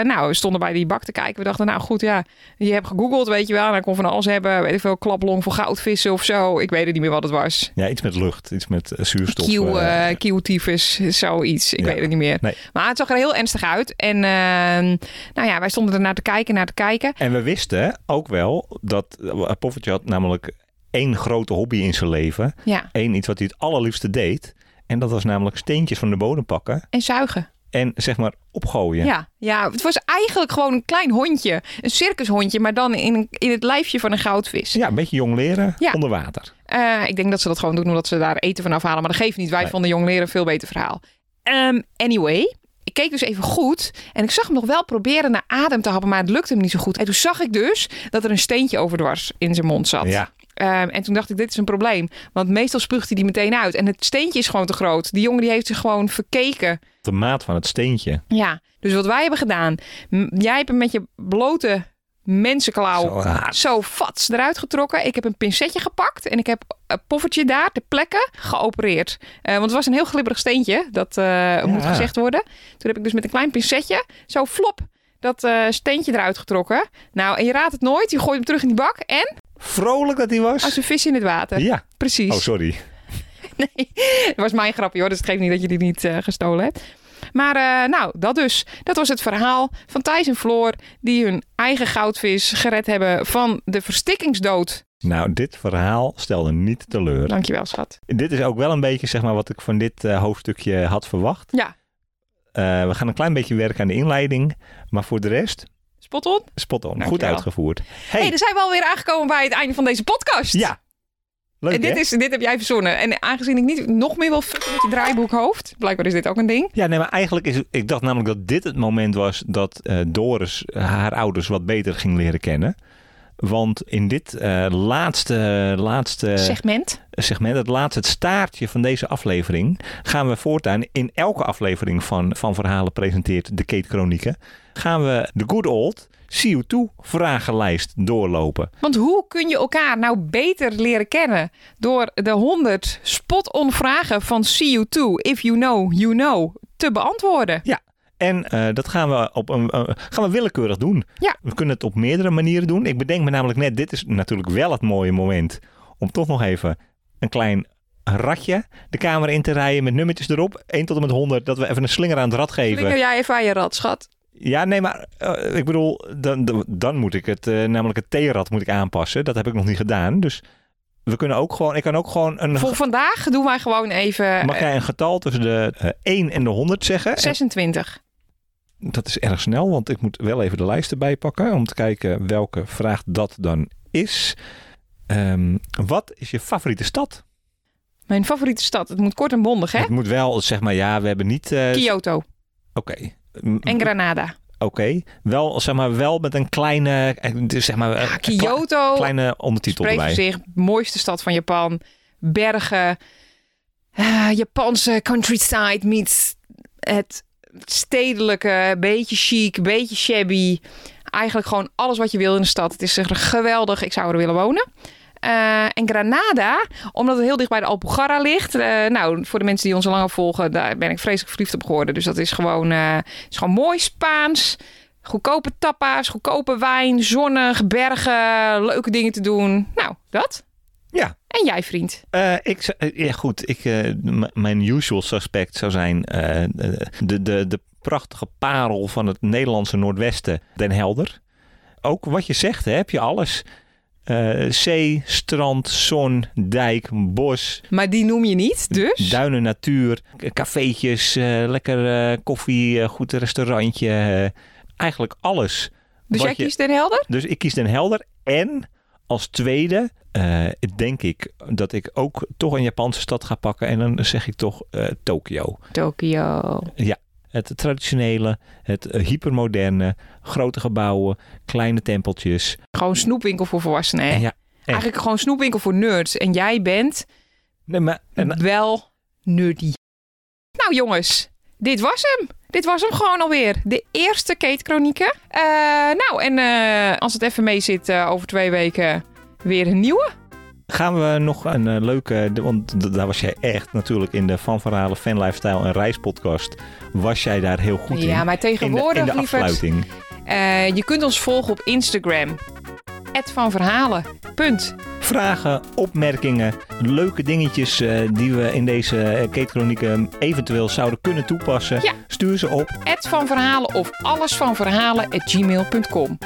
Speaker 3: eh, nou, we stonden bij die bak te kijken. We dachten, nou goed, ja, je hebt gegoogeld, weet je wel. En hij kon van alles hebben, weet ik veel, klaplong voor goudvissen of zo. Ik weet het niet meer wat het was.
Speaker 2: Ja, iets met lucht. Iets met eh, zuurstof.
Speaker 3: Q,
Speaker 2: eh.
Speaker 3: eh, Q-tyfus, zoiets. Ik
Speaker 2: Ja.
Speaker 3: weet het niet meer.
Speaker 2: Nee.
Speaker 3: Maar het zag er heel ernstig uit. En eh, nou ja, wij stonden er naar te kijken, naar te kijken.
Speaker 2: En we wisten ook wel dat... eh, Poffertje had namelijk één grote hobby in zijn leven.
Speaker 3: Ja,
Speaker 2: Eén iets wat hij het allerliefste deed. En dat was namelijk steentjes van de bodem pakken
Speaker 3: en zuigen.
Speaker 2: en zeg maar opgooien.
Speaker 3: Ja. Ja, het was eigenlijk gewoon een klein hondje. Een circushondje, maar dan in, in het lijfje van een goudvis.
Speaker 2: Ja, een beetje jong leren
Speaker 3: Ja.
Speaker 2: onder water.
Speaker 3: Eh, ik denk dat ze dat gewoon doen omdat ze daar eten van afhalen. Maar dat geeft niet. Wij
Speaker 2: Nee.
Speaker 3: vonden jong leren een veel beter verhaal. Ehm, anyway, ik keek dus even goed. En ik zag hem nog wel proberen naar adem te happen. Maar het lukte hem niet zo goed. En toen zag ik dus dat er een steentje overdwars in zijn mond zat.
Speaker 2: Ja.
Speaker 3: Ehm, en toen dacht ik, dit is een probleem. Want meestal spuugt hij die meteen uit. En het steentje is gewoon te groot. Die jongen die heeft zich gewoon verkeken.
Speaker 2: De maat van het steentje.
Speaker 3: Ja, dus wat wij hebben gedaan. m- jij hebt hem met je blote mensenklauw
Speaker 2: Zo, ah,
Speaker 3: zo fats eruit getrokken. Ik heb een pincetje gepakt en ik heb een poffertje daar, de plekken, geopereerd. Eh, want het was een heel glibberig steentje, dat eh, moet gezegd worden. Toen heb ik dus met een klein pincetje zo flop dat eh, steentje eruit getrokken. Nou, en je raadt het nooit, je gooit hem terug in die bak en
Speaker 2: Vrolijk dat hij was.
Speaker 3: als een vis in het water.
Speaker 2: Ja.
Speaker 3: Precies.
Speaker 2: Oh, sorry.
Speaker 3: Nee, dat was mijn grapje hoor. Dus het geeft niet dat je die niet eh, gestolen hebt. Maar eh, nou, dat dus. Dat was het verhaal van Thijs en Floor... die hun eigen goudvis gered hebben van de verstikkingsdood.
Speaker 2: Nou, dit verhaal stelde niet teleur.
Speaker 3: Dankjewel, schat.
Speaker 2: Dit is ook wel een beetje zeg maar, wat ik van dit eh, hoofdstukje had verwacht.
Speaker 3: Ja.
Speaker 2: Eh, we gaan een klein beetje werken aan de inleiding. Maar voor de rest,
Speaker 3: Spot on.
Speaker 2: spot on. Goed
Speaker 3: Dankjewel.
Speaker 2: uitgevoerd.
Speaker 3: Hé,
Speaker 2: hey,
Speaker 3: hey, dan zijn we alweer aangekomen bij het einde van deze podcast.
Speaker 2: ja. Leuk,
Speaker 3: en dit,
Speaker 2: hè?
Speaker 3: is, dit heb jij verzonnen. En aangezien ik niet nog meer wil fucken met je draaiboekhoofd, blijkbaar is dit ook een ding.
Speaker 2: Ja, nee, maar eigenlijk is het... Ik dacht namelijk dat dit het moment was dat eh, Doris haar ouders wat beter ging leren kennen. Want in dit eh, laatste, laatste
Speaker 3: Segment.
Speaker 2: segment, het laatste het staartje van deze aflevering, gaan we voortaan in elke aflevering van, van Verhalen presenteert de Kate Chronieken, gaan we de good old CO2 vragenlijst doorlopen.
Speaker 3: Want hoe kun je elkaar nou beter leren kennen? Door de 100 spot-on vragen van CU2, if you know, you know, te beantwoorden.
Speaker 2: En eh, dat gaan we, op een, eh, gaan we willekeurig doen.
Speaker 3: Ja.
Speaker 2: We kunnen het op meerdere manieren doen. Ik bedenk me namelijk net, dit is natuurlijk wel het mooie moment om toch nog even een klein ratje de kamer in te rijden met nummertjes erop. 1 tot en met 100, dat we even een slinger aan het rad geven.
Speaker 3: Flikker nou jij even aan je rad, schat.
Speaker 2: Ja, nee, maar eh, ik bedoel, dan, dan- dan moet ik het, eh, namelijk het theerad moet ik aanpassen. Dat heb ik nog niet gedaan. Dus we kunnen ook gewoon, ik kan ook gewoon een.
Speaker 3: Voor vandaag doen wij gewoon even
Speaker 2: Mag
Speaker 3: eh,
Speaker 2: jij een getal tussen de eh, 1 en de 100 zeggen?
Speaker 3: 26.
Speaker 2: En dat is erg snel, want ik moet wel even de lijst erbij pakken om te kijken welke vraag dat dan is. Ehm, wat is je favoriete stad?
Speaker 3: Mijn favoriete stad. Het moet kort en bondig, hè?
Speaker 2: Het moet wel, zeg maar, ja, we hebben niet. eh,
Speaker 3: Kyoto
Speaker 2: Oké. M-
Speaker 3: en Granada.
Speaker 2: Oké. Wel, zeg maar, wel met een kleine. eh, Dus zeg maar, eh,
Speaker 3: Ja,
Speaker 2: kle-
Speaker 3: Ah, Kyoto
Speaker 2: kleine ondertitel
Speaker 3: spreekt
Speaker 2: erbij.
Speaker 3: voor zich. Mooiste stad van Japan. Bergen. Ah, Japanse countryside meets het stedelijke. Beetje chic, beetje shabby. Eigenlijk gewoon alles wat je wil in de stad. Het is echt geweldig. Ik zou er willen wonen. Eh, en Granada, omdat het heel dicht bij de Alpujarra ligt. eh, nou, voor de mensen die ons al langer volgen, daar ben ik vreselijk verliefd op geworden. Dus dat is gewoon, eh, is gewoon mooi Spaans. Goedkope tapa's, goedkope wijn, zonnig, bergen, leuke dingen te doen. Nou, dat.
Speaker 2: Ja.
Speaker 3: En jij, vriend.
Speaker 2: Eh, ik, zou- eh, ja, goed. Ik, eh, m- mijn usual suspect zou zijn eh, de, de, de prachtige parel van het Nederlandse Noordwesten, Den Helder. Ook wat je zegt, hè, heb je alles. Eh, zee, strand, zon, dijk, bos,
Speaker 3: Maar die noem je niet, dus?
Speaker 2: duinen, natuur, k- cafeetjes, eh, lekker eh, koffie, eh, goed restaurantje. eh, eigenlijk alles.
Speaker 3: dus
Speaker 2: wat
Speaker 3: jij
Speaker 2: je-
Speaker 3: kiest Den Helder?
Speaker 2: Dus ik kies Den Helder. En als tweede eh, denk ik dat ik ook toch een Japanse stad ga pakken. En dan zeg ik toch eh, Tokio.
Speaker 3: Tokio.
Speaker 2: Het traditionele, het eh, hypermoderne, grote gebouwen, kleine tempeltjes.
Speaker 3: Gewoon snoepwinkel voor volwassenen. hè?
Speaker 2: En ja,
Speaker 3: Eigenlijk gewoon snoepwinkel voor nerds. En jij bent
Speaker 2: nee, maar, en-
Speaker 3: wel nerdy. Nou jongens, dit was hem. Dit was hem gewoon alweer. De eerste Kate Chronieken. Eh, nou, en eh, als het even mee zit, eh, over twee weken weer een nieuwe.
Speaker 2: gaan we nog een eh, leuke, de- want d- daar was jij echt natuurlijk in de Van Verhalen, Fan Lifestyle en Reispodcast. Was jij daar heel goed
Speaker 3: ja,
Speaker 2: in.
Speaker 3: maar
Speaker 2: In de, in
Speaker 3: tegenwoordig,
Speaker 2: de
Speaker 3: lieverd,
Speaker 2: afsluiting.
Speaker 3: Eh, je kunt ons volgen op Instagram. @vanverhalen. Punt.
Speaker 2: vragen, opmerkingen, leuke dingetjes eh, die we in deze eh, Kate Chronieken eventueel zouden kunnen toepassen.
Speaker 3: Ja.
Speaker 2: Stuur ze op.
Speaker 3: @vanverhalen of allesvanverhalen@gmail.com.